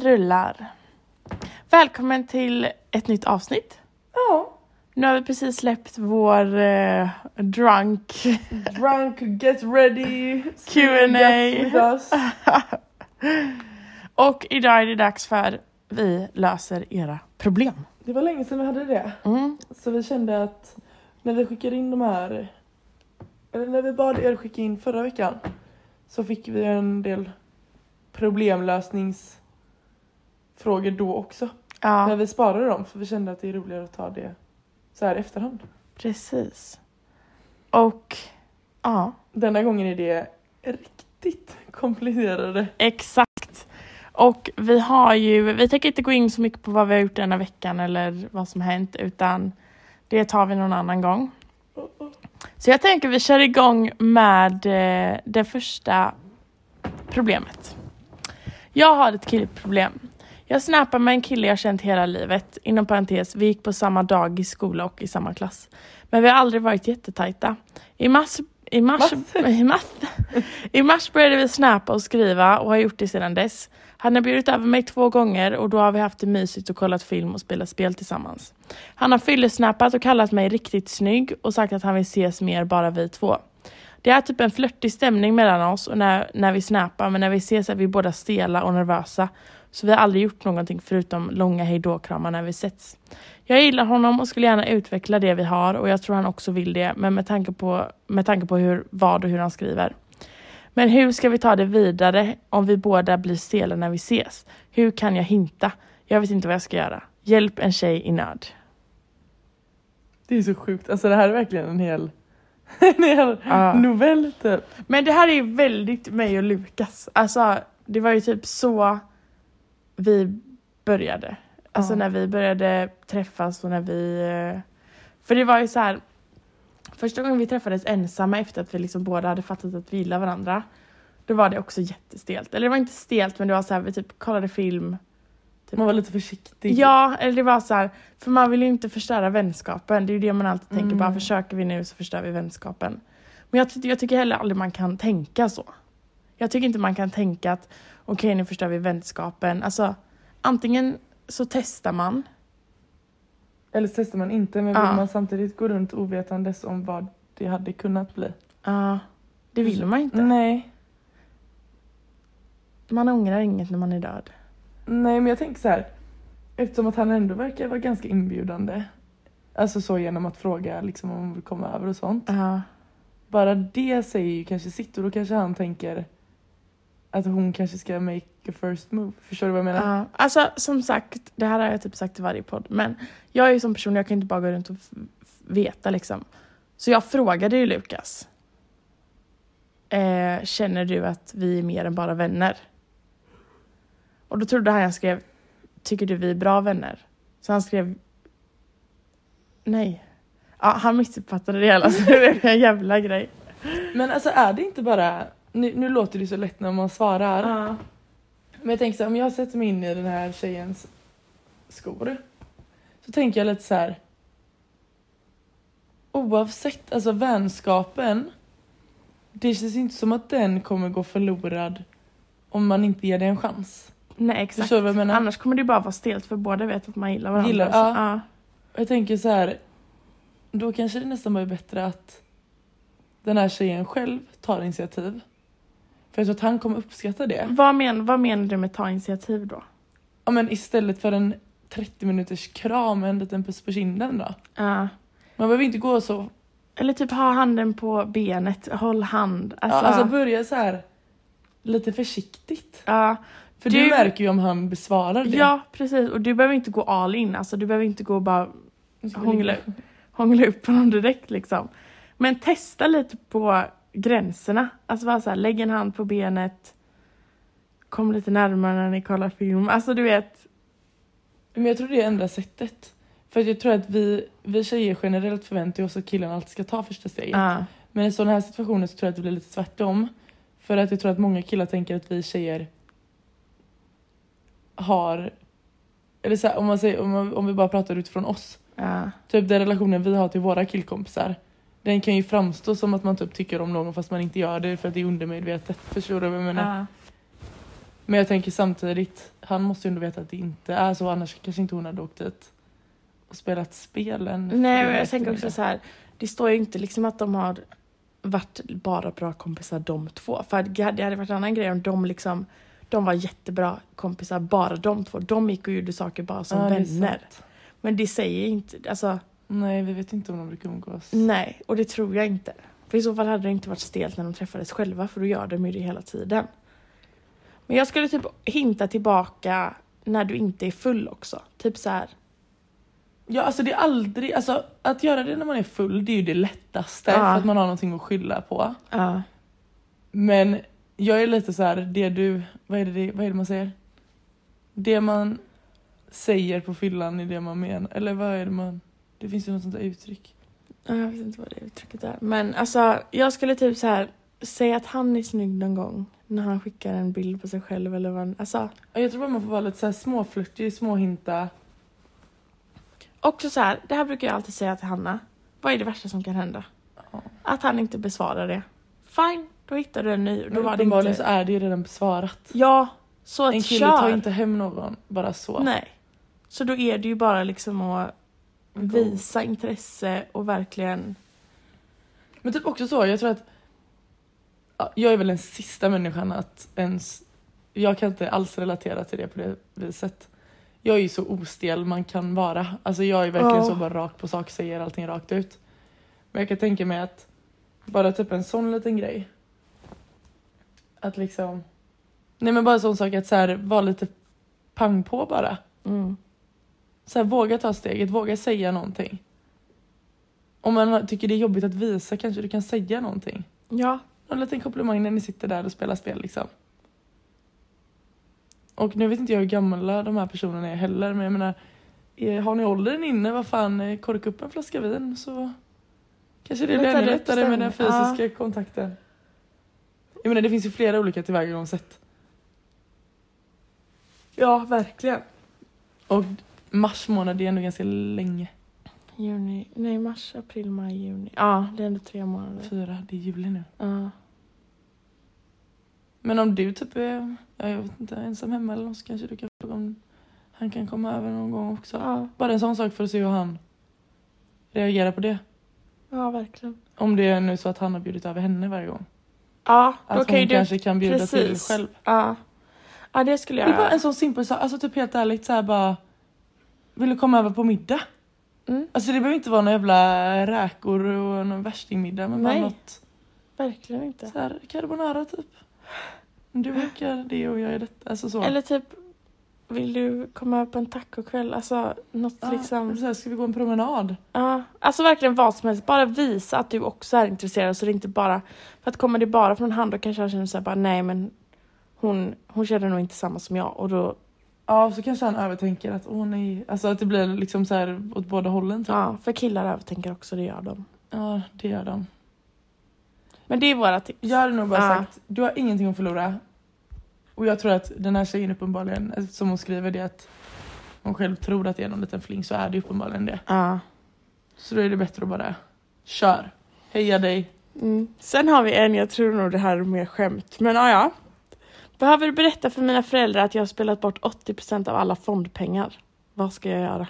rullar. Välkommen till ett nytt avsnitt. Ja. Nu har vi precis släppt vår eh, drunk. Drunk, get ready. Q&A. Yes with us. Och idag är det dags för Vi löser era problem. Det var länge sedan vi hade det. Mm. Så vi kände att när vi skickade in de här, eller när vi bad er skicka in förra veckan, så fick vi en del problemlösningsfrågor då också. Men Ja, vi sparade dem för vi kände att det är roligare att ta det så här i efterhand. precis. Och ja, Denna gången är det riktigt komplicerade. exakt. Och vi har ju, vi tänker inte gå in så mycket på vad vi har gjort denna veckan eller vad som hänt utan det tar vi någon annan gång. Så jag tänker vi kör igång med eh, det första problemet. Jag har ett killproblem. Jag snappar med en kille jag känt hela livet. Inom parentes, vi gick på samma dag i skola och i samma klass. Men vi har aldrig varit jättetajta. I mars, i mars, Mass? i mars, i mars började vi snappa och skriva och har gjort det sedan dess. Han har bjudit över mig två gånger och då har vi haft det mysigt och kollat film och spelat spel tillsammans. Han har fyllesnappat och kallat mig riktigt snygg och sagt att han vill ses mer bara vi två. Det är typ en flörtig stämning mellan oss och när, när vi snappar men när vi ses är vi båda stela och nervösa. Så vi har aldrig gjort någonting förutom långa hejdå-kramar när vi sätts. Jag gillar honom och skulle gärna utveckla det vi har och jag tror han också vill det men med tanke på, med tanke på hur, vad och hur han skriver. Men hur ska vi ta det vidare om vi båda blir stela när vi ses? Hur kan jag hinta? Jag vet inte vad jag ska göra. Hjälp en tjej i nöd. Det är så sjukt. Alltså det här är verkligen en hel, en hel Ja. novell typ. Men det här är ju väldigt mig och Lukas. Alltså, det var ju typ så vi började. Alltså Ja. när vi började träffas och när vi... eh, För det var ju så här... Första gången vi träffades ensamma efter att vi liksom båda hade fattat att vi gillar varandra. Då var det också jättestelt. Eller det var inte stelt men det var så här, vi typ kollade film. Man var lite försiktig. Ja, eller det var så här, för man vill ju inte förstöra vänskapen. Det är ju det man alltid tänker, Mm. bara försöker vi nu så förstör vi vänskapen. Men jag, ty- jag tycker heller aldrig man kan tänka så. Jag tycker inte man kan tänka att okej nu förstör vi vänskapen. Alltså antingen så testar man. Eller så testar man inte men vill Ja. man samtidigt gå runt ovetandes om vad det hade kunnat bli. Ja, det vill man inte. Nej. Man ångrar inget när man är död. Nej men jag tänker så här. Eftersom att han ändå verkar vara ganska inbjudande. Alltså så genom att fråga liksom om hon vill komma över och sånt. Ja, Bara det säger ju kanske sitt och då kanske han tänker att hon kanske ska make a first move. Förstår du vad jag menar? ja. alltså som sagt, det här har jag typ sagt i varje podd. Men jag är ju som person, jag kan inte bara gå runt och f- f- veta liksom. Så jag frågade ju Lukas. Eh, känner du att vi är mer än bara vänner? Och då trodde han jag skrev, tycker du vi är bra vänner? Så han skrev, nej. Ja, han missuppfattade det hela så det blev en jävla grej. Men alltså är det inte bara, nu, nu låter det så lätt när man svarar. Ja. Men jag tänker så här, om jag sätter mig in i den här tjejens skor så tänker jag lite så här. Oavsett, alltså vänskapen. Det känns inte som att den kommer gå förlorad om man inte ger det en chans. Nej exakt. Förstår du vad jag menar? Annars kommer det bara vara stelt för båda vet att man gillar varandra. Gillar, så, ja. ja. Och Jag tänker så här. Då kanske det nästan bara är bättre att den här tjejen själv tar initiativ. För jag tror att han kommer uppskatta det. Vad, men, vad menar du med ta initiativ då? Ja, men istället för en 30 minuters kram, en liten puss på kinden då. Ja. Man behöver inte gå så Eller typ ha handen på benet, håll hand. Ja, Alltså, ja, alltså börja så här lite försiktigt. För du, Du- märker ju om han besvarar det. ja, precis. Och du behöver inte gå all in. Alltså, du behöver inte gå och bara Nu ska vi hångla, ligga. hångla upp honom direkt. Liksom. Men testa lite på gränserna. Alltså bara så här, lägg en hand på benet. Kom lite närmare när ni kollar film. Alltså du vet. Men jag tror det är enda sättet. För att jag tror att vi, vi tjejer generellt förväntar oss att killen alltid ska ta första steget. Ja. Men i sådana här situationer så tror jag att det blir lite tvärtom. För att jag tror att många killar tänker att vi tjejer har... Eller så här, om, man säger, om, man, om vi bara pratar utifrån oss. Ja. Typ den relationen vi har till våra killkompisar. Den kan ju framstå som att man typ tycker om någon fast man inte gör det för att det är undermedvetet. Förstår du vad jag menar? Ja. Men jag tänker samtidigt, han måste ju ändå veta att det inte är så annars kanske inte hon hade åkt dit och spelat spelen. Nej, men jag tänker också så här. Det står ju inte liksom att de har varit bara bra kompisar de två. För att det hade varit en annan grej om de liksom de var jättebra kompisar bara de två. De gick och gjorde saker bara som Ja, det är vänner. sant. Men det säger inte, alltså Nej, vi vet inte om de brukar umgås. nej, och det tror jag inte. För i så fall hade det inte varit stelt när de träffades själva för då gör de ju det hela tiden. Men jag skulle typ hinta tillbaka när du inte är full också. Typ så här. Ja, alltså det är aldrig, alltså att göra det när man är full, det är ju det lättaste Ja. för att man har någonting att skylla på. Ja. Men jag är lite så här, det du, vad är det, det- vad är det man säger? Det man säger på fyllan är det man menar, eller vad är det man, det finns ju något sånt där uttryck. Ja, Jag vet inte vad det uttrycket är. Men alltså, jag skulle typ så här säga att han är snygg någon gång när han skickar en bild på sig själv eller vad han- alltså Ja, Jag tror bara man får vara lite så här småflörtig, småhinta. också så här, det här brukar jag alltid säga till Hanna. Vad är det värsta som kan hända? Ja. Att han inte besvarar det. Fine, då hittar du en ny. Då Men var det uppenbarligen inte... så är det ju redan besvarat. Ja, så att En kille kör. tar inte hem någon bara så. Nej. Så då är det ju bara liksom att visa intresse och verkligen... Men typ också så, jag tror att ja, jag är väl den sista människan att ens, jag kan inte alls relatera till det på det viset. Jag är ju så ostel man kan vara. Alltså jag är verkligen Ja. så bara rakt på sak, säger allting rakt ut. Men jag kan tänka mig att bara typ en sån liten grej. Att liksom, nej men bara en sån sak att så här, vara lite pang på bara. Mm. Så här, våga ta steget, våga säga någonting. Om man tycker det är jobbigt att visa kanske du kan säga någonting. Ja, Någon liten komplimang när ni sitter där och spelar spel liksom. Och nu vet inte jag hur gamla de här personerna är heller men jag menar eh, har ni åldern inne, vad fan, eh, korka upp en flaska vin så kanske det blir Lättar ännu upp lättare med den stämningen. Ja. fysiska kontakten. Jag menar det finns ju flera olika tillvägagångssätt. ja verkligen. Och mars månad det är ändå ganska länge. Juni, nej mars, april, maj, juni. Ja, det är ändå tre månader. Fyra, det är juli nu. Ja. Men om du typ är ja, jag vet inte, ensam hemma eller något så kanske du kan fråga om han kan komma över någon gång också. Ja, Bara en sån sak för att se hur han reagerar på det. ja verkligen. Om det är nu så att han har bjudit över henne varje gång. Ja, Att då kan ju hon du... kanske kan bjuda till precis. själv. Ja. ja, det skulle Det jag är bara göra. en sån simpel sak, alltså typ helt ärligt så här bara Vill du komma över på middag? Mm, Alltså det behöver inte vara några jävla räkor och någon värstingmiddag men Nej. bara något verkligen inte. så här carbonara typ. Du brukar det och jag är detta, alltså så. Eller typ, vill du komma upp på en tacokväll? Alltså, något Ja, eller liksom... så här, ska vi gå en promenad? Ja, alltså verkligen vad som helst. Bara visa att du också är intresserad så det inte bara... För att kommer det bara från han då kanske han känner såhär bara nej men hon, hon känner nog inte samma som jag och då... Ja, så kanske han övertänker att åh nej, alltså att det blir liksom så här åt båda hållen typ. Ja, för killar övertänker också, det gör de. Ja, det gör de. Men det är våra tips. Jag hade nog bara Ja. sagt, du har ingenting att förlora. Och jag tror att den här tjejen uppenbarligen, alltså, som hon skriver det att hon själv tror att det är någon liten fling så är det uppenbarligen det. Ja. Så då är det bättre att bara kör. Heja dig. Mm. Sen har vi en, jag tror nog det här är mer skämt, men ah, ja, ja. Behöver berätta för mina föräldrar att jag har spelat bort 80% av alla fondpengar. Vad ska jag göra?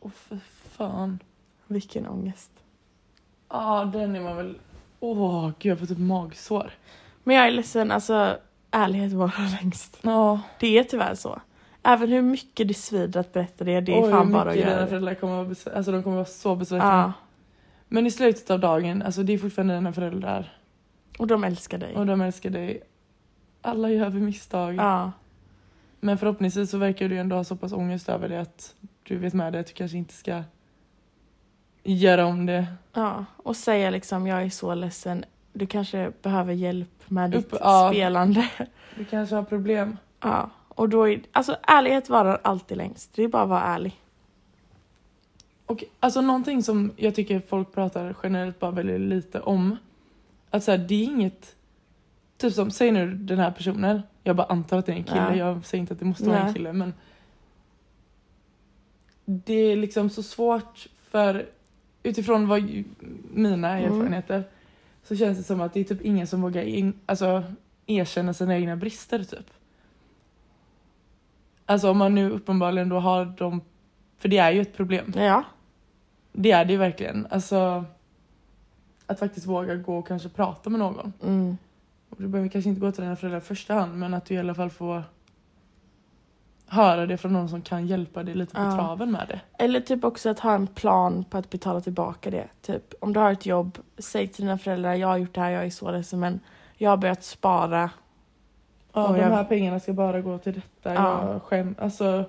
Åh för fan. Vilken ångest. Ja, den är man väl... Åh gud, jag får typ magsår. Men jag är ledsen, alltså ärlighet varar längst. Ja, Det är tyvärr så. Även hur mycket det svider att berätta det, det är Oj, fan hur bara att mycket göra dina det. föräldrar kommer vara besvikna. Alltså de kommer vara så besvikna. Ja, Men i slutet av dagen, alltså det är fortfarande dina föräldrar och de älskar dig. och de älskar dig. Alla gör vi misstag. Ja, Men förhoppningsvis så verkar du ändå ha så pass ångest över det att du vet med dig att du kanske inte ska göra om det. ja. Och säga liksom, jag är så ledsen, du kanske behöver hjälp med ditt Upp- ja. spelande. Du kanske har problem. Ja, och då är, alltså ärlighet varar alltid längst. Det är bara att vara ärlig. Och alltså någonting som jag tycker folk pratar generellt bara väldigt lite om. Att så här, det är inget... Typ som, säg nu den här personen. Jag bara antar att det är en kille. Ja. Jag säger inte att det måste vara en Nej. kille men... Det är liksom så svårt för... Utifrån vad ju, mina Mm. erfarenheter så känns det som att det är typ ingen som vågar in, alltså, erkänna sina egna brister typ. Alltså om man nu uppenbarligen då har dem, för det är ju ett problem. Ja. Det är det ju verkligen. Alltså, att faktiskt våga gå och kanske prata med någon. Mm. Och du behöver kanske inte gå till dina föräldrar i första hand men att du i alla fall får höra det från någon som kan hjälpa dig lite på Ja. traven med det. Eller typ också att ha en plan på att betala tillbaka det. Typ om du har ett jobb, säg till dina föräldrar jag har gjort det här, jag är så ledsen men jag har börjat spara. Ja, Och de jag- här pengarna ska bara gå till detta. Ja. Jag skäm, alltså.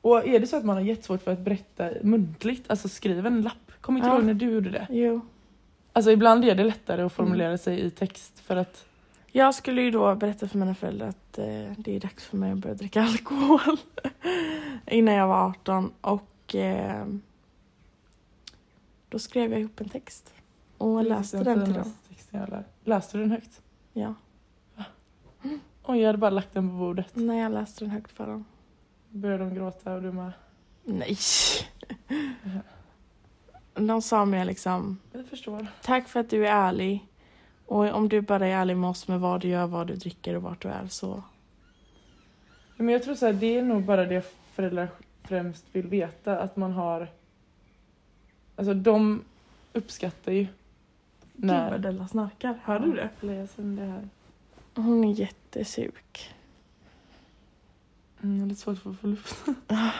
Och är det så att man har jättesvårt för att berätta muntligt, alltså skriv en lapp. Kom inte Ja. ihåg när du gjorde det. Mm. Jo. Alltså ibland är det lättare att formulera sig i text för att Jag skulle ju då berätta för mina föräldrar att eh, det är dags för mig att börja dricka alkohol. Innan jag var 18 och eh, då skrev jag ihop en text. Och läste den till dem. finaste texten jag lär. Läste du den högt? Ja. Oj, jag hade bara lagt den på bordet. När jag läste den högt för dem. Började de gråta och du bara, Nej! De sa mer liksom vi förstår. Tack för att du är ärlig. Och om du bara är ärlig med oss med vad du gör, vad du dricker och vart du är så... Men jag tror så här, det är nog bara det föräldrar främst vill veta, att man har... Alltså de uppskattar ju Gud vad när... Della snarkar, hör du det? Läs om det här. Hon är jättesjuk. Mm, jag har lite svårt för att få luft.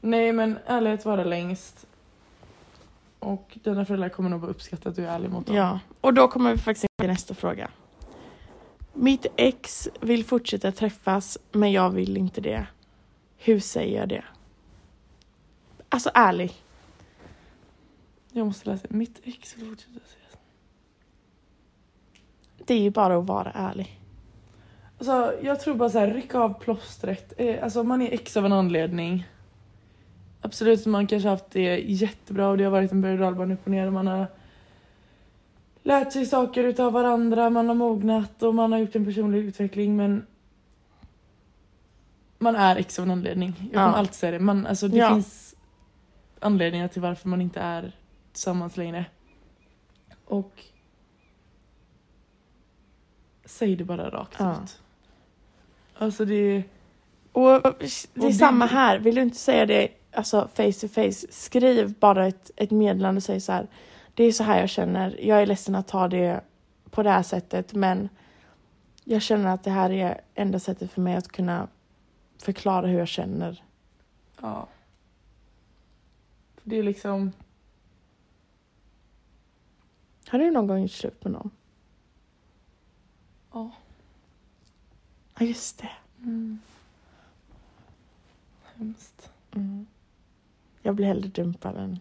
Nej men ärlighet vara längst. Och dina föräldrar kommer nog bara uppskatta att du är ärlig mot dem. Ja, och då kommer vi faktiskt in till nästa fråga. Mitt ex vill fortsätta träffas men jag vill inte det. Hur säger jag det? Alltså ärlig. Jag måste läsa. Mitt ex vill fortsätta ses. Det är ju bara att vara ärlig. Alltså jag tror bara så här, rycka av plåstret. Eh, Alltså man är ex av en anledning. Absolut, man kanske haft det jättebra och det har varit en berg och dalbana upp och ner. och Man har lärt sig saker utav varandra, man har mognat och man har gjort en personlig utveckling men man är ex av en anledning. Jag kommer Ja. alltid säga det. Man, alltså, det Ja. finns anledningar till varför man inte är tillsammans längre. Och säg det bara rakt Ja. ut. Alltså det... Och det är det- samma här. Vill du inte säga det alltså face to face, skriv bara ett, ett meddelande och säg så här. Det är så här jag känner. Jag är ledsen att ta det på det här sättet, men jag känner att det här är enda sättet för mig att kunna förklara hur jag känner. Ja. Det är liksom... Har du någon gång gjort slut med någon? Ja. Ja, just det. Hemskt. Mm. Jag blir hellre dumpad än...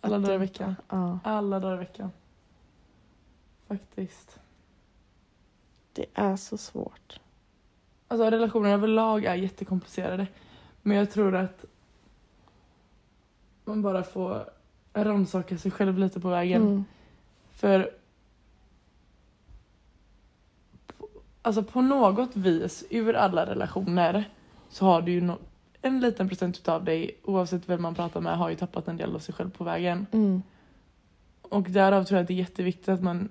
Alla dagar i dumpa. veckan. Ja, Alla dagar i veckan. Faktiskt. det är så svårt. Alltså relationer överlag är jättekomplicerade. Men jag tror att man bara får rannsaka sig själv lite på vägen. Mm. För Alltså på något vis, ur alla relationer, så har du ju nå- en liten procent utav dig, oavsett vem man pratar med, har ju tappat en del av sig själv på vägen. Mm. Och därav tror jag att det är jätteviktigt att man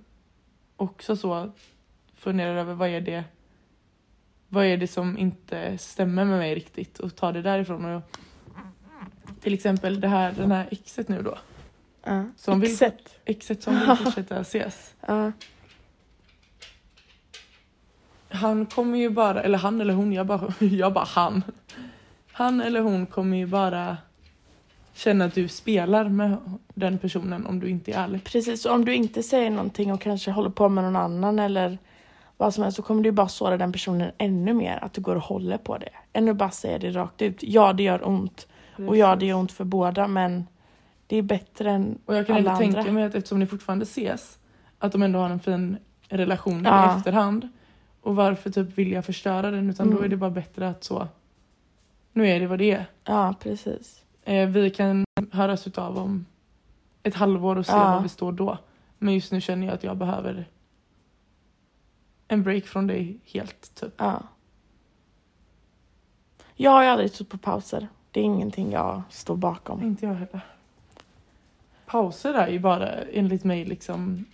också så funderar över vad är det vad är det som inte stämmer med mig riktigt och tar det därifrån. Och till exempel det här, den här exet nu då, Mm. Ja. Som vill- Exakt. exet som vill fortsätta ses. Ja. Han kommer ju bara, eller han eller hon, jag bara, jag bara han. Han eller hon kommer ju bara känna att du spelar med den personen om du inte är ärlig. Precis, och om du inte säger någonting och kanske håller på med någon annan eller vad som helst så kommer du bara såra den personen ännu mer att du går och håller på det. Än att bara säga det rakt ut. Ja, det gör ont och ja, det gör ont för båda men det är bättre än... Och jag kan alla ändå tänka andra. mig att eftersom ni fortfarande ses, att de ändå har en fin relation Ja. i efterhand. Och varför typ vilja förstöra den? Utan då Mm. är det bara bättre att så, nu är det vad det är. Ja, precis. Eh, vi kan höras utav om ett halvår och se Ja. var vi står då. Men just nu känner jag att jag behöver en break från dig helt typ. Ja. Jag har ju aldrig trott på pauser. Det är ingenting jag står bakom. Inte jag heller. Pauser är ju bara enligt mig liksom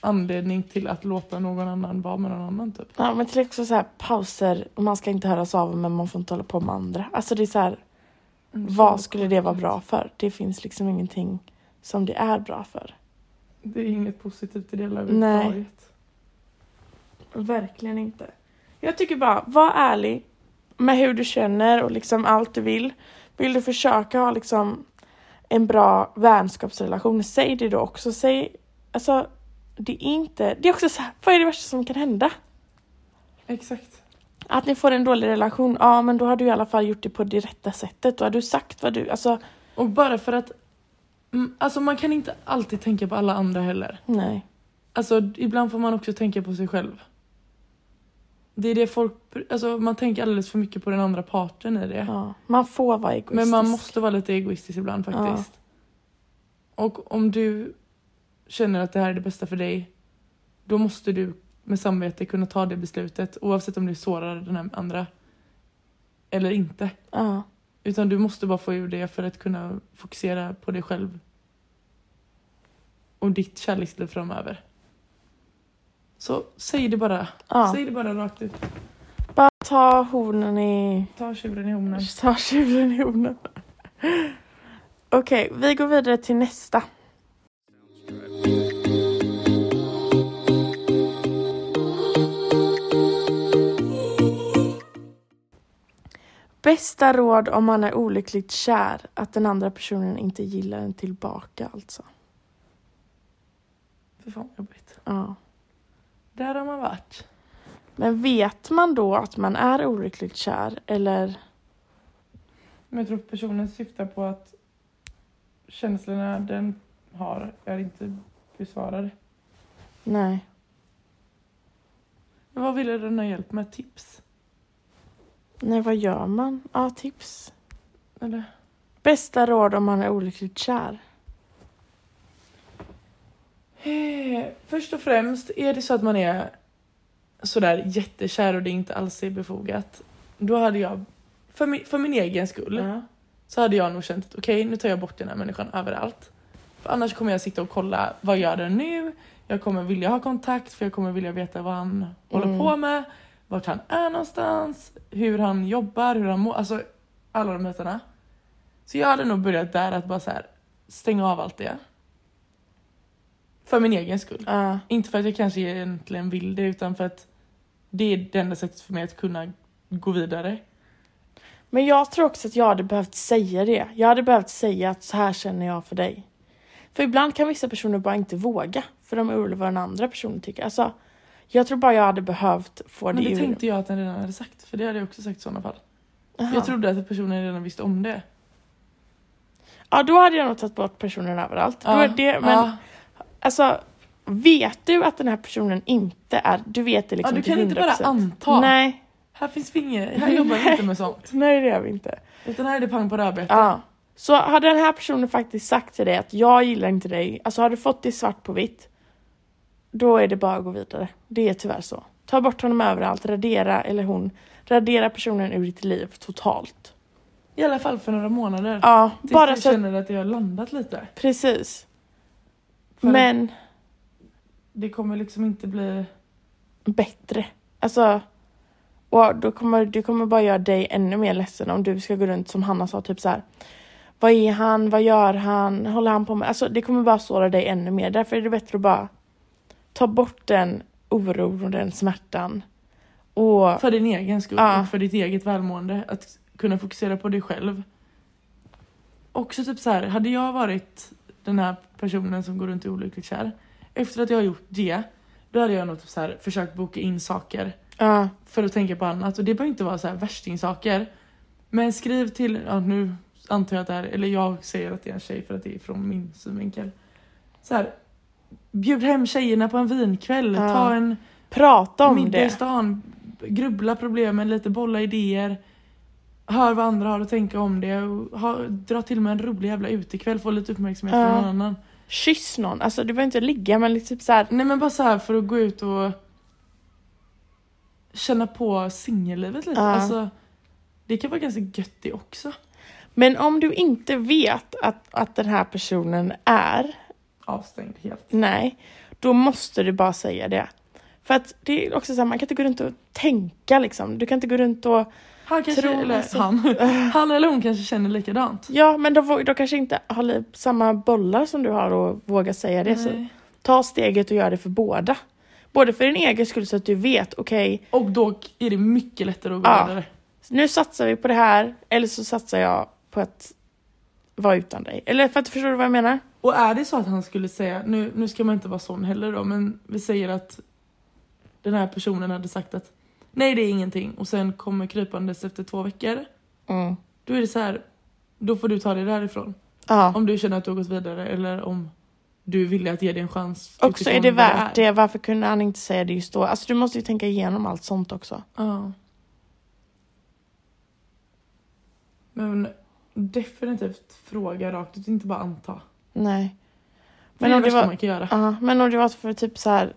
anledning till att låta någon annan vara med någon annan typ. Ja, men till också så här pauser, man ska inte höras av men man får inte hålla på med andra. Alltså det är så här, Mm, vad skulle det vara bra för? Det finns liksom ingenting som det är bra för. Det är inget positivt i det hela Nej. överhuvudtaget. Verkligen inte. Jag tycker bara, var ärlig med hur du känner och liksom allt du vill. Vill du försöka ha liksom en bra vänskapsrelation, säg det då också. Säg, alltså, det är inte, det är också så här, vad är det värsta som kan hända? Exakt. Att ni får en dålig relation, ja men då har du i alla fall gjort det på det rätta sättet. Då har du sagt vad du, alltså Och bara för att... Mm, Alltså man kan inte alltid tänka på alla andra heller. nej. Alltså ibland får man också tänka på sig själv. Det är det folk... Alltså man tänker alldeles för mycket på den andra parten i det. Ja. Man får vara egoistisk. Men man måste vara lite egoistisk ibland faktiskt. Och om du känner att det här är det bästa för dig, då måste du med samvete kunna ta det beslutet oavsett om du sårar den här andra eller inte. Ja. Utan du måste bara få ur det för att kunna fokusera på dig själv och ditt kärleksliv framöver. Så säg det bara. ja. Säg det bara rakt ut. Bara ta hornen i Ta tjuren i honen. Ta tjuren i hornen. Okej, vi går vidare till nästa. Bästa råd om man är olyckligt kär, att den andra personen inte gillar en tillbaka alltså. Fy fan vad jobbigt. Ja. Där har man varit. Men vet man då att man är olyckligt kär eller? Men jag tror personen syftar på att känslorna den har är inte besvarade. Nej. Men Vad ville den ha hjälp med? Tips? Nej, vad gör man? Ja, tips. Eller? Bästa råd om man är olyckligt kär? Eh, Först och främst, är det så att man är sådär jättekär och det inte alls är befogat, då hade jag, för min, för min egen skull, så hade jag nog känt att okej, nu tar jag bort den här människan överallt. För annars kommer jag sitta och kolla, vad gör den nu? Jag kommer vilja ha kontakt för jag kommer vilja veta vad han håller Mm. på med, vart han är någonstans, hur han jobbar, hur han mår, alltså alla de bitarna. Så jag hade nog börjat där att bara så här, stänga av allt det. För min egen skull. Ja. Inte för att jag kanske egentligen vill det utan för att det är det enda sättet för mig att kunna gå vidare. Men jag tror också att jag hade behövt säga det. Jag hade behövt säga att så här känner jag för dig. För ibland kan vissa personer bara inte våga för de är oroliga vad den andra personen tycker. Alltså, jag tror bara jag hade behövt få det Men det ur. tänkte jag att den redan hade sagt för det hade jag också sagt i sådana fall. Aha. Jag trodde att personen redan visste om det. Ja, då hade jag nog tagit bort personen överallt. Då Ja, är det, men ja. alltså, vet du att den här personen inte är... Du vet det liksom ja, du till kan inte bara 100%. anta. Nej, Här finns finger. Här jobbar vi inte med sånt. nej det gör vi inte. Utan här är det pang på rödbetan. Ja. Så har den här personen faktiskt sagt till dig att jag gillar inte dig, alltså har du fått det svart på vitt, då är det bara att gå vidare. Det är tyvärr så. Ta bort honom överallt, radera, eller hon, radera personen ur ditt liv totalt. I alla fall för några månader. Ja, Tills bara jag så att, känner att jag har landat lite. precis. För Men Det kommer liksom inte bli... bättre. Alltså, och då kommer, det kommer bara göra dig ännu mer ledsen om du ska gå runt som Hanna sa, typ så här. Vad är han? Vad gör han? Håller han på med? Alltså det kommer bara såra dig ännu mer. Därför är det bättre att bara ta bort den oron och den smärtan. Och För din egen skull Ja. och för ditt eget välmående. Att kunna fokusera på dig själv. Också typ så här, hade jag varit den här personen som går runt och är olyckligt kär. Efter att jag har gjort det, då hade jag nog typ så här, försökt boka in saker. ja, för att tänka på annat. Och det behöver inte vara så här värstingsaker. Men skriv till, ja, nu antar jag att det här, eller jag säger att det är en tjej för att det är från min synvinkel. Så här, bjud hem tjejerna på en vinkväll, Ja. ta en prata om middag i det. stan, grubbla problemen lite, bolla idéer. Hör vad andra har att tänka om det och ha, dra till med en rolig jävla utekväll, få lite uppmärksamhet Ja. från någon annan. Kyss någon. Alltså du behöver inte ligga men liksom typ så här. Nej men bara så här för att gå ut och känna på singellivet lite. Ja. Alltså, det kan vara ganska gött det också. Men om du inte vet att, att den här personen är Avstängd helt. Nej, Då måste du bara säga det. För att det är också så här, man kan inte gå runt och tänka liksom. Du kan inte gå runt och Han, kanske, Tror eller, alltså- han, han eller hon kanske känner likadant. Ja, men de, vå- de kanske inte har li- samma bollar som du har och vågar säga det. Så Nej. ta steget och gör det för båda. Både för din egen skull så att du vet, okej, Och då är det mycket lättare att gå Ja. vidare. nu satsar vi på det här eller så satsar jag på att vara utan dig. Eller för att förstår du vad jag menar? Och är det så att han skulle säga, nu, nu ska man inte vara sån heller då, men vi säger att den här personen hade sagt att nej det är ingenting och sen kommer krypandes efter två veckor. Mm. Då är det så här, då får du ta dig därifrån. Ja. Om du känner att du har gått vidare eller om du vill att ge det en chans. Och så är utifrån det vad värt är. det. Varför kunde han inte säga det just då? Alltså du måste ju tänka igenom allt sånt också. Ja. Men definitivt fråga rakt ut, inte bara anta. Nej. Men Men det är om det det värsta var, man kan göra. ja, men om det var för typ så här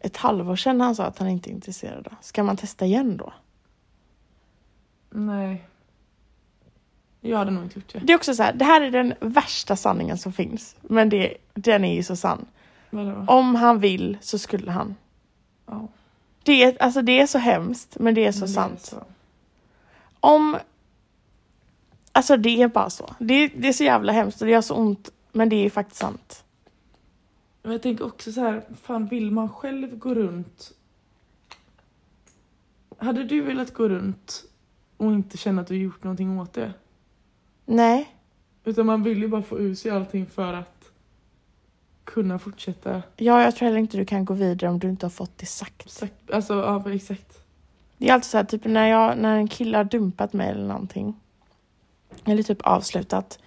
ett halvår sedan han sa att han inte är intresserad. då? Ska man testa igen då? Nej. Jag hade nog inte gjort det. Det är också så här, det här är den värsta sanningen som finns. Men det, den är ju så sann. Vadå? Om han vill så skulle han. Ja. Det är, alltså det är så hemskt, men det är så Men det sant. så. Om... Alltså det är bara så. Det, det är så jävla hemskt och det gör så ont. Men det är faktiskt sant. Men jag tänker också så här, fan vill man själv gå runt? Hade du velat gå runt och inte känna att du gjort någonting åt det? Nej. Utan man vill ju bara få ur sig allting för att kunna fortsätta. Ja, jag tror heller inte du kan gå vidare om du inte har fått det sagt. Exakt- Alltså, ja men exakt. Det är alltid så här, typ när, jag, när en kille har dumpat mig eller någonting. Eller typ avslutat.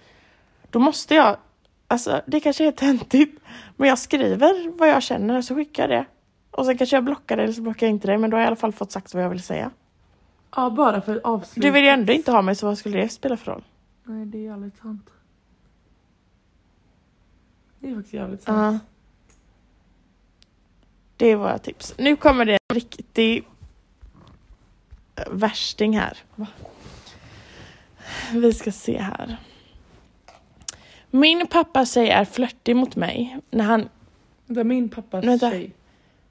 Då måste jag... Alltså det kanske är töntigt. Men jag skriver vad jag känner och så skickar jag det. Och sen kanske jag blockar det eller så blockar jag inte det. Men då har jag i alla fall fått sagt vad jag vill säga. Ja, bara för att avsluta. Du vill ju ändå inte ha mig så vad skulle det spela för roll? Nej, det är jävligt sant. Det är faktiskt jävligt sant. Ja. Det är våra tips. Nu kommer det en riktig eh, värsting här. Vi ska se här. Min pappa tjej är flörtig mot mig när han... Vänta, min pappas Vänta. tjej.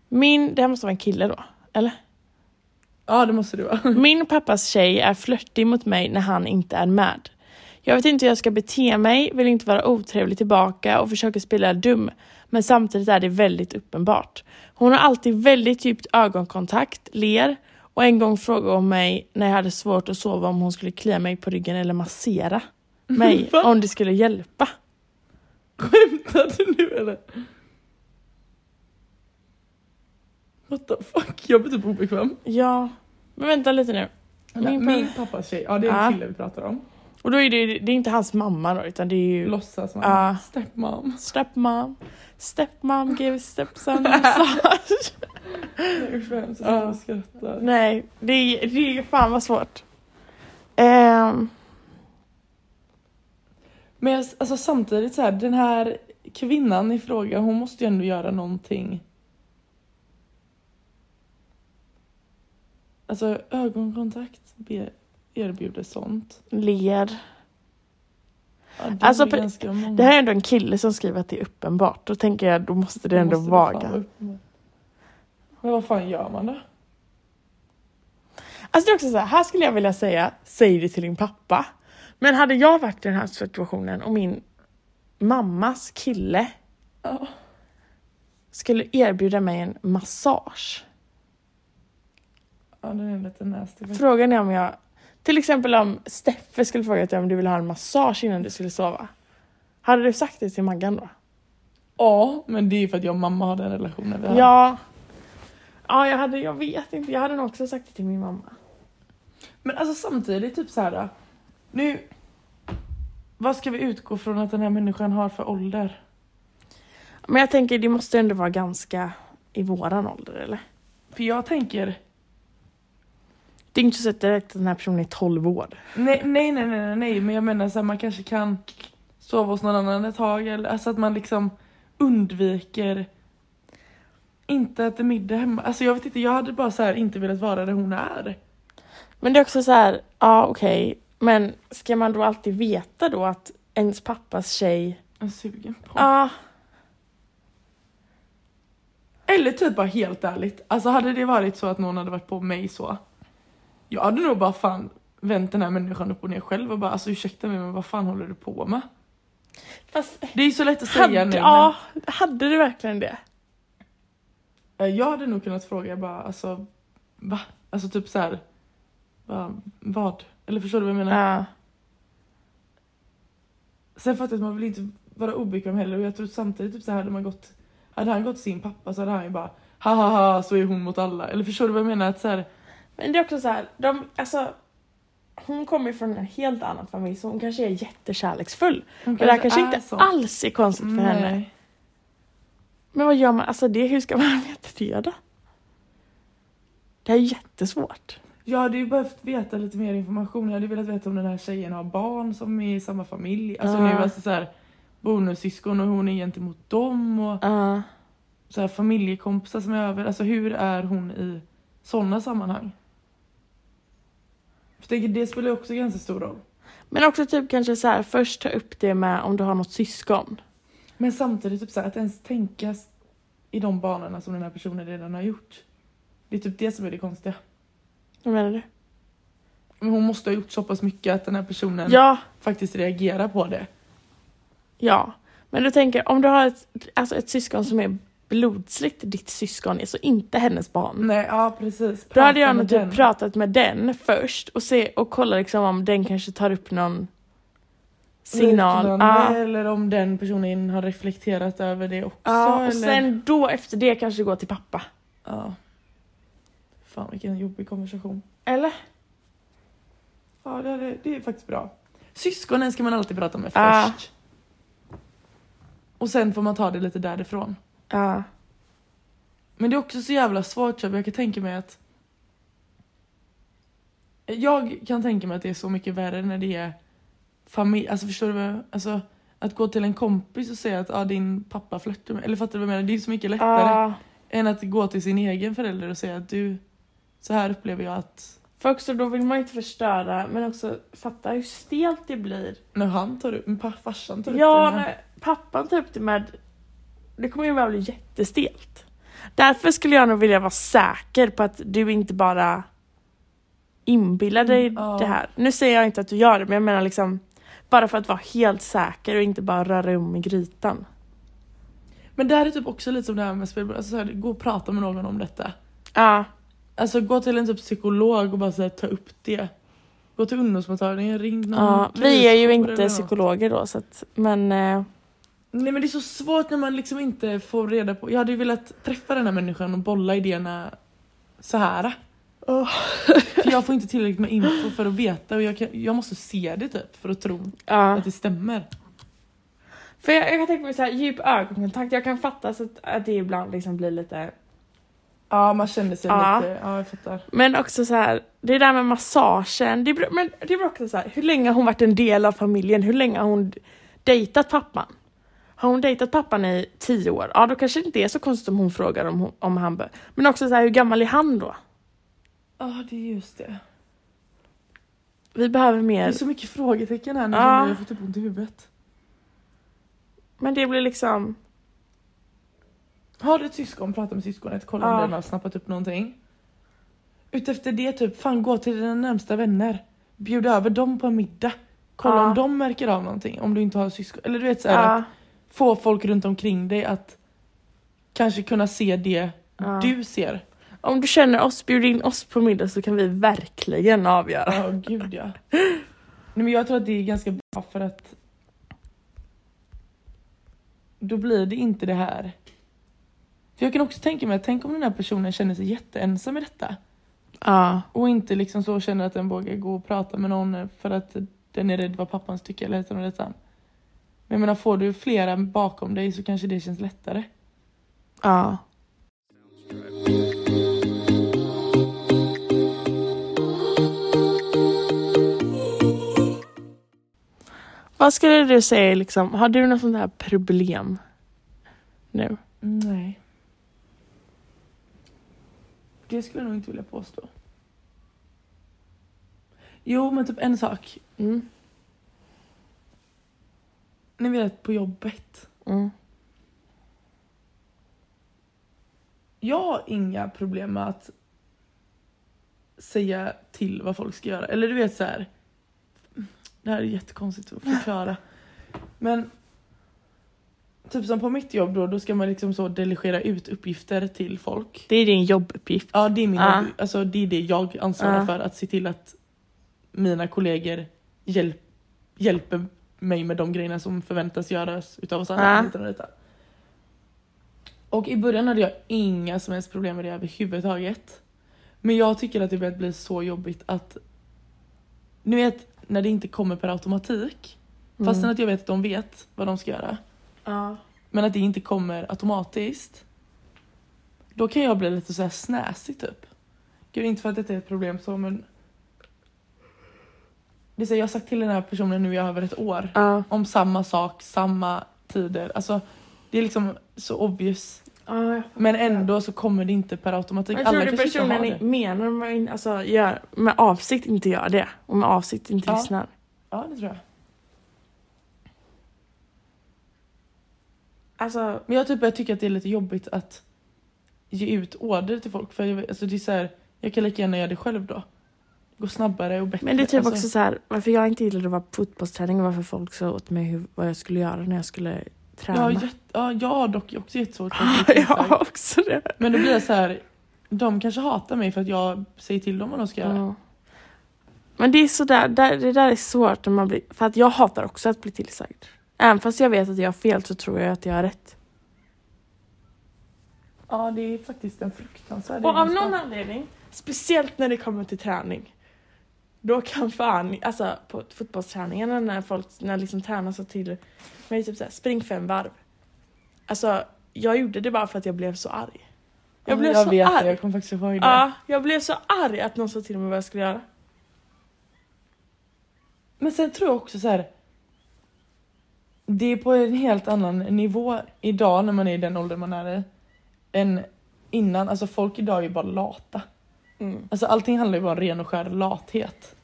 Min, det här måste vara en kille då. Ja, det måste det vara. Min pappas tjej är flörtig mot mig när han inte är med. Jag vet inte hur jag ska bete mig, vill inte vara otrevlig tillbaka och försöker spela dum. Men samtidigt är det väldigt uppenbart. Hon har alltid väldigt djupt ögonkontakt, ler och en gång frågade hon mig när jag hade svårt att sova om hon skulle klia mig på ryggen eller massera mig Va? om det skulle hjälpa. Skämtar du nu eller? What the fuck, jag blir typ obekväm. Ja, men vänta lite nu. Min, Min min pappas tjej, ja det är en Ja. kille vi pratar om. Och då är det, ju- det är inte hans mamma då, utan det är ju Låtsas man. Ja. Stepmom. stepmom. Stepmom gave stepson a massage. Usch vad hemskt, Ja. jag skrattar. Nej, det är, det är fan vad svårt. Ehm, Men jag, alltså, samtidigt så här, den här kvinnan i fråga hon måste ju ändå göra någonting. Alltså ögonkontakt be- erbjuder sånt. ler. Ja, det Alltså, är pre- ganska många. Det här är ändå en kille som skriver att det är uppenbart. Då tänker jag, då måste det ändå Måste vara. fan vara upp med. Men vad fan gör man då? Alltså det är också så här, här skulle jag vilja säga, säg det till din pappa. Men hade jag varit i den här situationen och min mammas kille Ja. skulle erbjuda mig en massage. Ja, den är lite nasty. faktiskt. Frågan är om jag, till exempel om Steffe skulle fråga dig om du vill ha en massage innan du skulle sova. Hade du sagt det till Maggan då? Ja, men det är ju för att jag och mamma har den relationen vi har. Ja. Ja, jag, hade, jag vet inte. Jag hade nog också sagt det till min mamma. Men alltså samtidigt, typ så här. Nu... Vad ska vi utgå från att den här människan har för ålder? Men jag tänker, det måste ändå vara ganska i våran ålder, eller? För jag tänker... Det är inte så att direkt att den här personen är 12 år. Nej, nej, nej, nej, nej, nej. men jag menar så här, man kanske kan sova hos någon annan ett tag. Eller, alltså att man liksom undviker... Inte äta middag hemma. Alltså jag vet inte, jag hade bara så här inte velat vara där hon är. Men det är också så här, ja okej, men ska man då alltid veta då att ens pappas tjej, Jag är sugen på. ja. Eller typ bara helt ärligt, alltså hade det varit så att någon hade varit på mig så. Jag hade nog bara fan vänt den här människan upp och ner själv och bara alltså ursäkta mig men vad fan håller du på med? Fast, Det är ju så lätt att säga hade, nu ja, hade du verkligen det? men eh, jag hade nog kunnat fråga bara alltså va? Alltså typ så här. Va, vad? Eller förstår du vad jag menar? Ja. Sen fattar jag att man vill inte vara obekväm heller och jag tror samtidigt typ så här hade man gått Hade han gått till sin pappa så hade han ju bara ha ha ha så är hon mot alla. Eller förstår du vad jag menar? Att så här, Men det är också så här, de, alltså, hon kommer ju från en helt annan familj så hon kanske är jättekärleksfull. hon Och det här kanske är inte sån. alls är konstigt för henne. Nej. Men vad gör man? Alltså det, hur ska man veta det då? Det här är jättesvårt. Jag hade ju behövt veta lite mer information. Jag hade velat veta om den här tjejen har barn som är i samma familj. Alltså Ja. nu alltså så här bonussyskon och hon är gentemot dem och Ja. så här familjekompisar som är över. Alltså hur är hon i sådana sammanhang? För jag tänker, det spelar ju också ganska stor roll. Men också typ kanske så här, först ta upp det med om du har något syskon. Men samtidigt typ så här, att ens tänka s- i de banorna som den här personen redan har gjort. Det är typ det som är det konstiga. Vad menar du? Men hon måste ha gjort så pass mycket att den här personen Ja, faktiskt reagerar på det. ja. Men du tänker, om du har ett, alltså ett syskon som är blodsligt ditt syskon är, så inte hennes barn. Nej, ja precis. Mm. Då hade Prata jag med nog typ den. pratat med den först och, se, och kolla liksom om den kanske tar upp någon signal. Liknande, Ja. Eller om den personen har reflekterat över det också. Ja, eller... och sen då efter det kanske gå till pappa. Ja. Fan vilken jobbig konversation. Eller? Ja, det, hade, det är faktiskt bra. Syskonen ska man alltid prata med Ja. först. Och sen får man ta det lite därifrån. Ja. Men det är också så jävla svårt Shabbe. jag kan tänka mig att Jag kan tänka mig att det är så mycket värre när det är familj, alltså förstår du vad jag, alltså att gå till en kompis och säga att ah, din pappa flörtar med, eller fattar du vad jag menar? Det är så mycket lättare ja. än att gå till sin egen förälder och säga att du, så här upplever jag att För också då vill man ju inte förstöra men också fatta hur stelt det blir. när han tar upp, men pa- farsan tar Ja, upp Typ det. när han- när pappan tar upp det med... Det kommer ju bara bli jättestelt. Därför skulle jag nog vilja vara säker på att du inte bara inbillar dig Mm, ja. det här. Nu säger jag inte att du gör det, men jag menar liksom bara för att vara helt säker och inte bara röra om i grytan. Men det här är typ också lite som det här med spelberoende, alltså så här, gå och prata med någon om detta. Ja, Alltså gå till en typ psykolog och bara så här, ta upp det. Gå till ungdomsmottagningen, ring någon. ja. vi är ju krisjour eller inte något. psykologer då, så att, men eh, Nej men det är så svårt när man liksom inte får reda på. Jag hade ju velat träffa den här människan och bolla idéerna så här. Åh. För jag får inte tillräckligt med info för att veta och jag, kan, jag måste se det typ för att tro ja. att det stämmer. För jag, jag kan tänka mig så här, djup ögonkontakt, jag kan fatta så att, att det ibland liksom blir lite Ja man känner sig Ja. lite, ja jag fattar. Men också så här, det där med massagen, det beror, men det beror också så här, hur länge har hon varit en del av familjen? Hur länge har hon dejtat pappan? Har hon dejtat pappan i tio år? Ja, då kanske det inte är så konstigt om hon frågar om, hon, om han bör. Men också så här, hur gammal är han då? Ja det är just det. Vi behöver Det är mer. så mycket frågetecken här nu, Ja. jag får typ ont i huvudet. Men det blir liksom, Har du ett syskon, prata med syskonet, kolla Ja. om den har snappat upp någonting. Utefter det typ, fan gå till dina närmsta vänner. Bjud över dem på en middag. Kolla Ja. om de märker av någonting, om du inte har syskon. Eller du vet såhär, ja, att få folk runt omkring dig att kanske kunna se det Ja. du ser. om du känner oss, bjud in oss på middag så kan vi verkligen avgöra. Ja, gud ja. Nej, men jag tror att det är ganska bra för att då blir det inte det här. För jag kan också tänka mig att tänk om den här personen känner sig jätteensam i detta Ja, och inte liksom så känner att den vågar gå och prata med någon för att den är rädd vad pappan tycker eller detta och detta. Men jag menar får du flera bakom dig så kanske det känns lättare. ja. Vad skulle du säga liksom, har du något sånt här problem nu? Nej. Det skulle jag nog inte vilja påstå. Jo, men typ en sak. Mm. Ni vet på jobbet. Mm. Jag har inga problem med att säga till vad folk ska göra. Eller du vet så här. Det här är jättekonstigt att förklara. Men typ som på mitt jobb då, då ska man liksom så delegera ut uppgifter till folk. Det är din jobbuppgift. Ja, det är, min, Ja. alltså, det, är det jag ansvarar Ja. för. Att se till att mina kollegor hjälp, hjälper mig med de grejerna som förväntas göras utav oss alla. Ja. utan detta. Och i början hade jag inga som helst problem med det överhuvudtaget. Men jag tycker att det börjat bli så jobbigt att... Ni vet, när det inte kommer per automatik. Mm. Fastän att jag vet att de vet vad de ska göra. Ja. Men att det inte kommer automatiskt. Då kan jag bli lite så här snäsig typ. Gud, inte för att detta är ett problem så men. Det är så här, jag har sagt till den här personen nu i över ett år. Ja. Om samma sak, samma tider. Alltså det är liksom så obvious. ja. Men ändå så kommer det inte per automatik. Jag tror det kanske inte har personen i- det. menar med, alltså, gör, med avsikt inte gör det. Och med avsikt inte Ja. lyssnar. Ja det tror jag. Alltså, Men jag typ jag tycker att det är lite jobbigt att ge ut order till folk. För jag, alltså, det är så här, jag kan lika gärna göra det själv då. Det går snabbare och bättre. men det är typ alltså. också så här, varför jag inte gillade att vara på fotbollsträning och varför folk sa åt mig hur, vad jag skulle göra när jag skulle Jag har, träna. jätt, ja, jag har dock också jättesvårt Ah, Ja, för jag ja. har också det. Men då blir jag så här. De kanske hatar mig för att jag säger till dem vad de ska göra. Ja. Men det är sådär, där, det där är svårt när man blir, för att jag hatar också att bli tillsagd. Även fast jag vet att jag har fel så tror jag att jag har rätt. Ja, det är faktiskt en fruktansvärd Och av egenskap. någon anledning, speciellt när det kommer till träning, då kan fan, alltså på fotbollsträningarna när folk när liksom tränar så till mig typ såhär, spring fem varv. Alltså jag gjorde det bara för att jag blev så arg. Jag blev jag så vet arg. det, jag kommer faktiskt ihåg det. Ja, jag blev så arg att någon sa till mig vad jag skulle göra. Men sen tror jag också så här. Det är på en helt annan nivå idag när man är i den åldern man är i. Än innan. Alltså folk idag är ju bara lata. Mm. Alltså allting handlar ju bara om ren och skär lathet.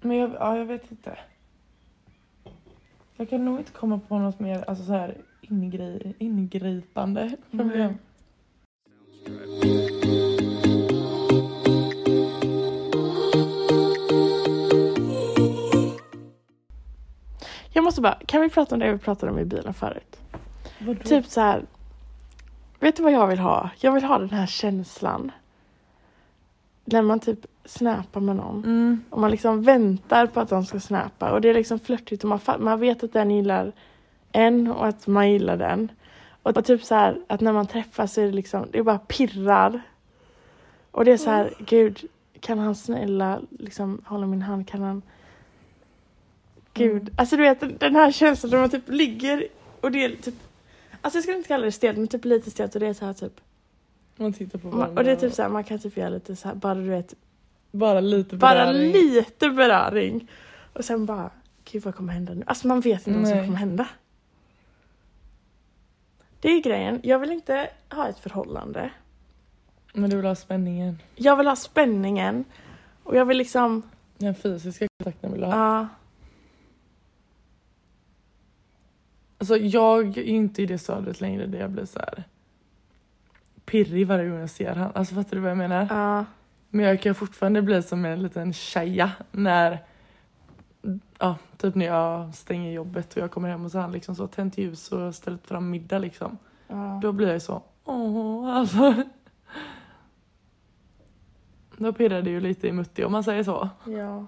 Men jag, ja, jag vet inte. Jag kan nog inte komma på något mer alltså så här, ingri, ingripande problem. Nej. Jag måste bara, kan vi prata om det vi pratade om i bilen förut? Vadå? Typ så här. Vet du vad jag vill ha? Jag vill ha den här känslan. När man typ snappar med någon. Mm. Och man liksom väntar på att de ska snappa. Och det är liksom flörtigt och man, fa- man vet att den gillar en och att man gillar den. Och, och typ så här att när man träffas så är det liksom, det bara pirrar. Och det är så här, gud, kan han snälla liksom hålla min hand? Kan han? Gud, Mm. alltså du vet den- den här känslan när man typ ligger och det är typ, alltså jag skulle inte kalla det stelt men typ lite stelt och det är så här typ, Man tittar på man, varandra. och det är typ så här, man kan typ göra lite så här, bara du vet Bara lite bara beröring. lite beröring. Och sen bara, gud vad kommer hända nu? Alltså man vet inte vad som Nej. kommer hända. Det är grejen, jag vill inte ha ett förhållande. Men du vill ha spänningen. Jag vill ha spänningen. Och jag vill liksom, ah, Den fysiska kontakten vill du ha. ja. Alltså jag är ju inte i det stadiet längre där jag blir så här pirrig varje gång jag ser han. Alltså fattar du vad jag menar? ja. Men jag kan fortfarande bli som en liten tjeja när Ja, typ när jag stänger jobbet och jag kommer hem och så har han liksom så tänt ljus och ställt fram middag liksom. ja. Då blir jag ju så, åh alltså. Då pirrar det ju lite i mutti om man säger så. ja.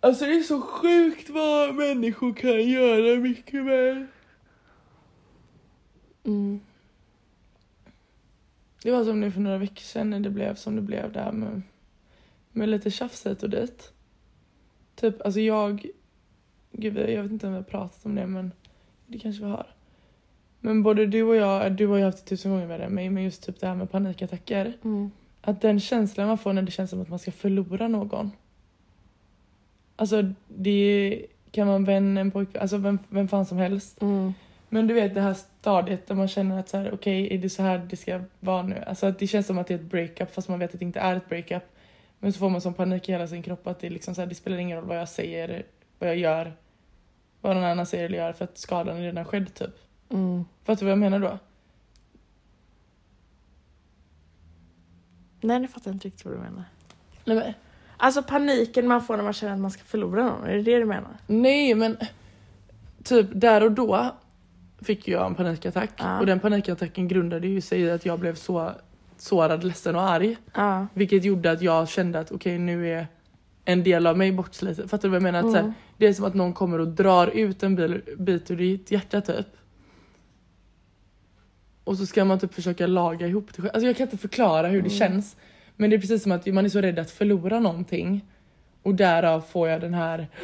Alltså det är så sjukt vad människor kan göra mycket med. Mm. Det var som nu för några veckor sedan när det blev som det blev där med, med lite tjafs hit och dit. Typ, alltså jag... Gud, jag vet inte om vi har pratat om det, men det kanske vi har. Men både du och jag, du har ju haft det tusen gånger värre än mig, men just typ det här med panikattacker. Mm. Att den känslan man får när det känns som att man ska förlora någon. Alltså, det kan man vän, en pojkvän, alltså vem, vem fan som helst. Mm. Men du vet det här stadiet där man känner att så här, okej, är det så här det ska vara nu? Alltså att det känns som att det är ett breakup fast man vet att det inte är ett breakup. Men så får man sån panik i hela sin kropp att det, är liksom så här, det spelar ingen roll vad jag säger, vad jag gör, vad någon annan säger eller gör för att skadan är redan skedd typ. Mm. Fattar du vad jag menar då? Nej, nu fattar jag inte riktigt vad du menar. Nej men, Alltså paniken man får när man känner att man ska förlora någon, är det det du menar? nej, men typ där och då fick jag en panikattack Ja. och den panikattacken grundade ju sig i att jag blev så sårad, ledsen och arg. Ja. Vilket gjorde att jag kände att okej nu är en del av mig bortsliten. Fattar du vad jag menar? Att, så här, Mm. det är som att någon kommer och drar ut en bil, bit ur ditt hjärta typ. Och så ska man typ försöka laga ihop det själv. Alltså jag kan inte förklara hur det Mm. känns. Men det är precis som att man är så rädd att förlora någonting. Och därav får jag den här...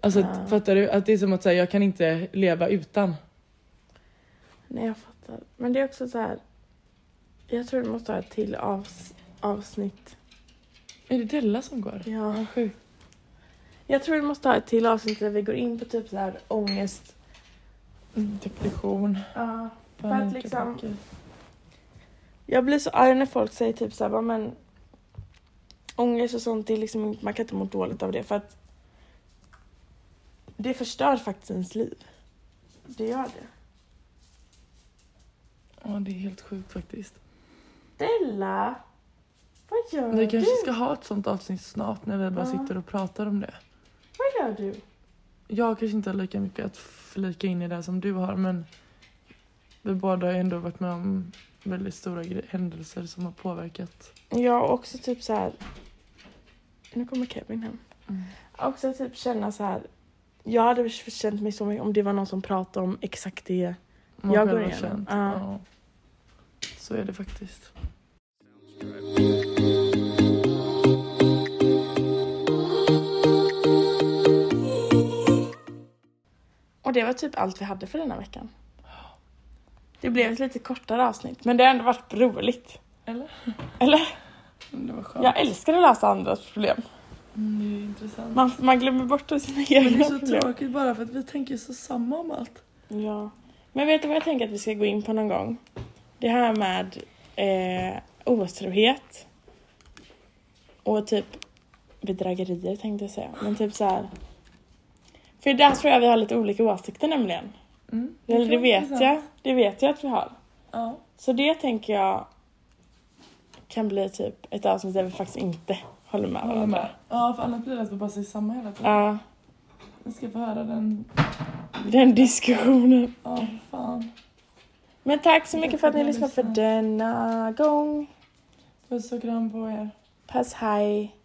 Alltså Ja. fattar du? Att det är som att så här, jag kan inte leva utan. Nej, jag fattar. Men det är också så här. Jag tror du måste ha ett till avs- avsnitt. Är det Della som går? Ja. Vad sjukt. Jag tror du måste ha ett till avsnitt där vi går in på typ så här ångest. Depression. Ja. Mm. För att panik, liksom- attacker. Jag blir så arg när folk säger typ så här, bara, men ångest och sånt, det är liksom, man kan inte må dåligt av det för att det förstör faktiskt ens liv. Det gör det. Ja det är helt sjukt faktiskt. Della! Vad gör Vi du? kanske ska ha ett sånt avsnitt snart när vi bara Ja. sitter och pratar om det. Vad gör du? Jag kanske inte har lika mycket att flika in i det här som du har men vi båda har ändå varit med om väldigt stora gre- händelser som har påverkat. Jag har också typ så här. Nu kommer Kevin hem. Mm. Också typ känna så här. Jag hade känt mig så mycket om det var någon som pratade om exakt det. man Jag själv går har igenom. känt. Ja. Ja. Så är det faktiskt. Och det var typ allt vi hade för denna veckan. Det blev ett lite kortare avsnitt, men det har ändå varit roligt. Eller? Eller? Det var skönt. Jag älskar att lösa andras problem. Mm, det är intressant. Man, man glömmer bort sina Men det egna är så problem. tråkigt bara för att vi tänker så samma om allt. Ja. Men vet du vad jag tänker att vi ska gå in på någon gång? Det här med eh, otrohet. Och typ bedrägerier tänkte jag säga. Men typ så här. För där tror jag vi har lite olika åsikter nämligen. Mm. Eller det kan vara vet intressant. jag. Det vet jag att vi har. Ja. Så det tänker jag kan bli typ ett avsnitt där vi faktiskt inte håller med Håller varandra. med. Ja, för annars blir det att vi bara säger samma hela tiden. Ja, Vi ska få höra den. den diskussionen. Ja, fan. Men tack så mycket Tack för för att ni att ni lyssnade för lyssnade. denna gång. Puss och kram på er. Pass hej.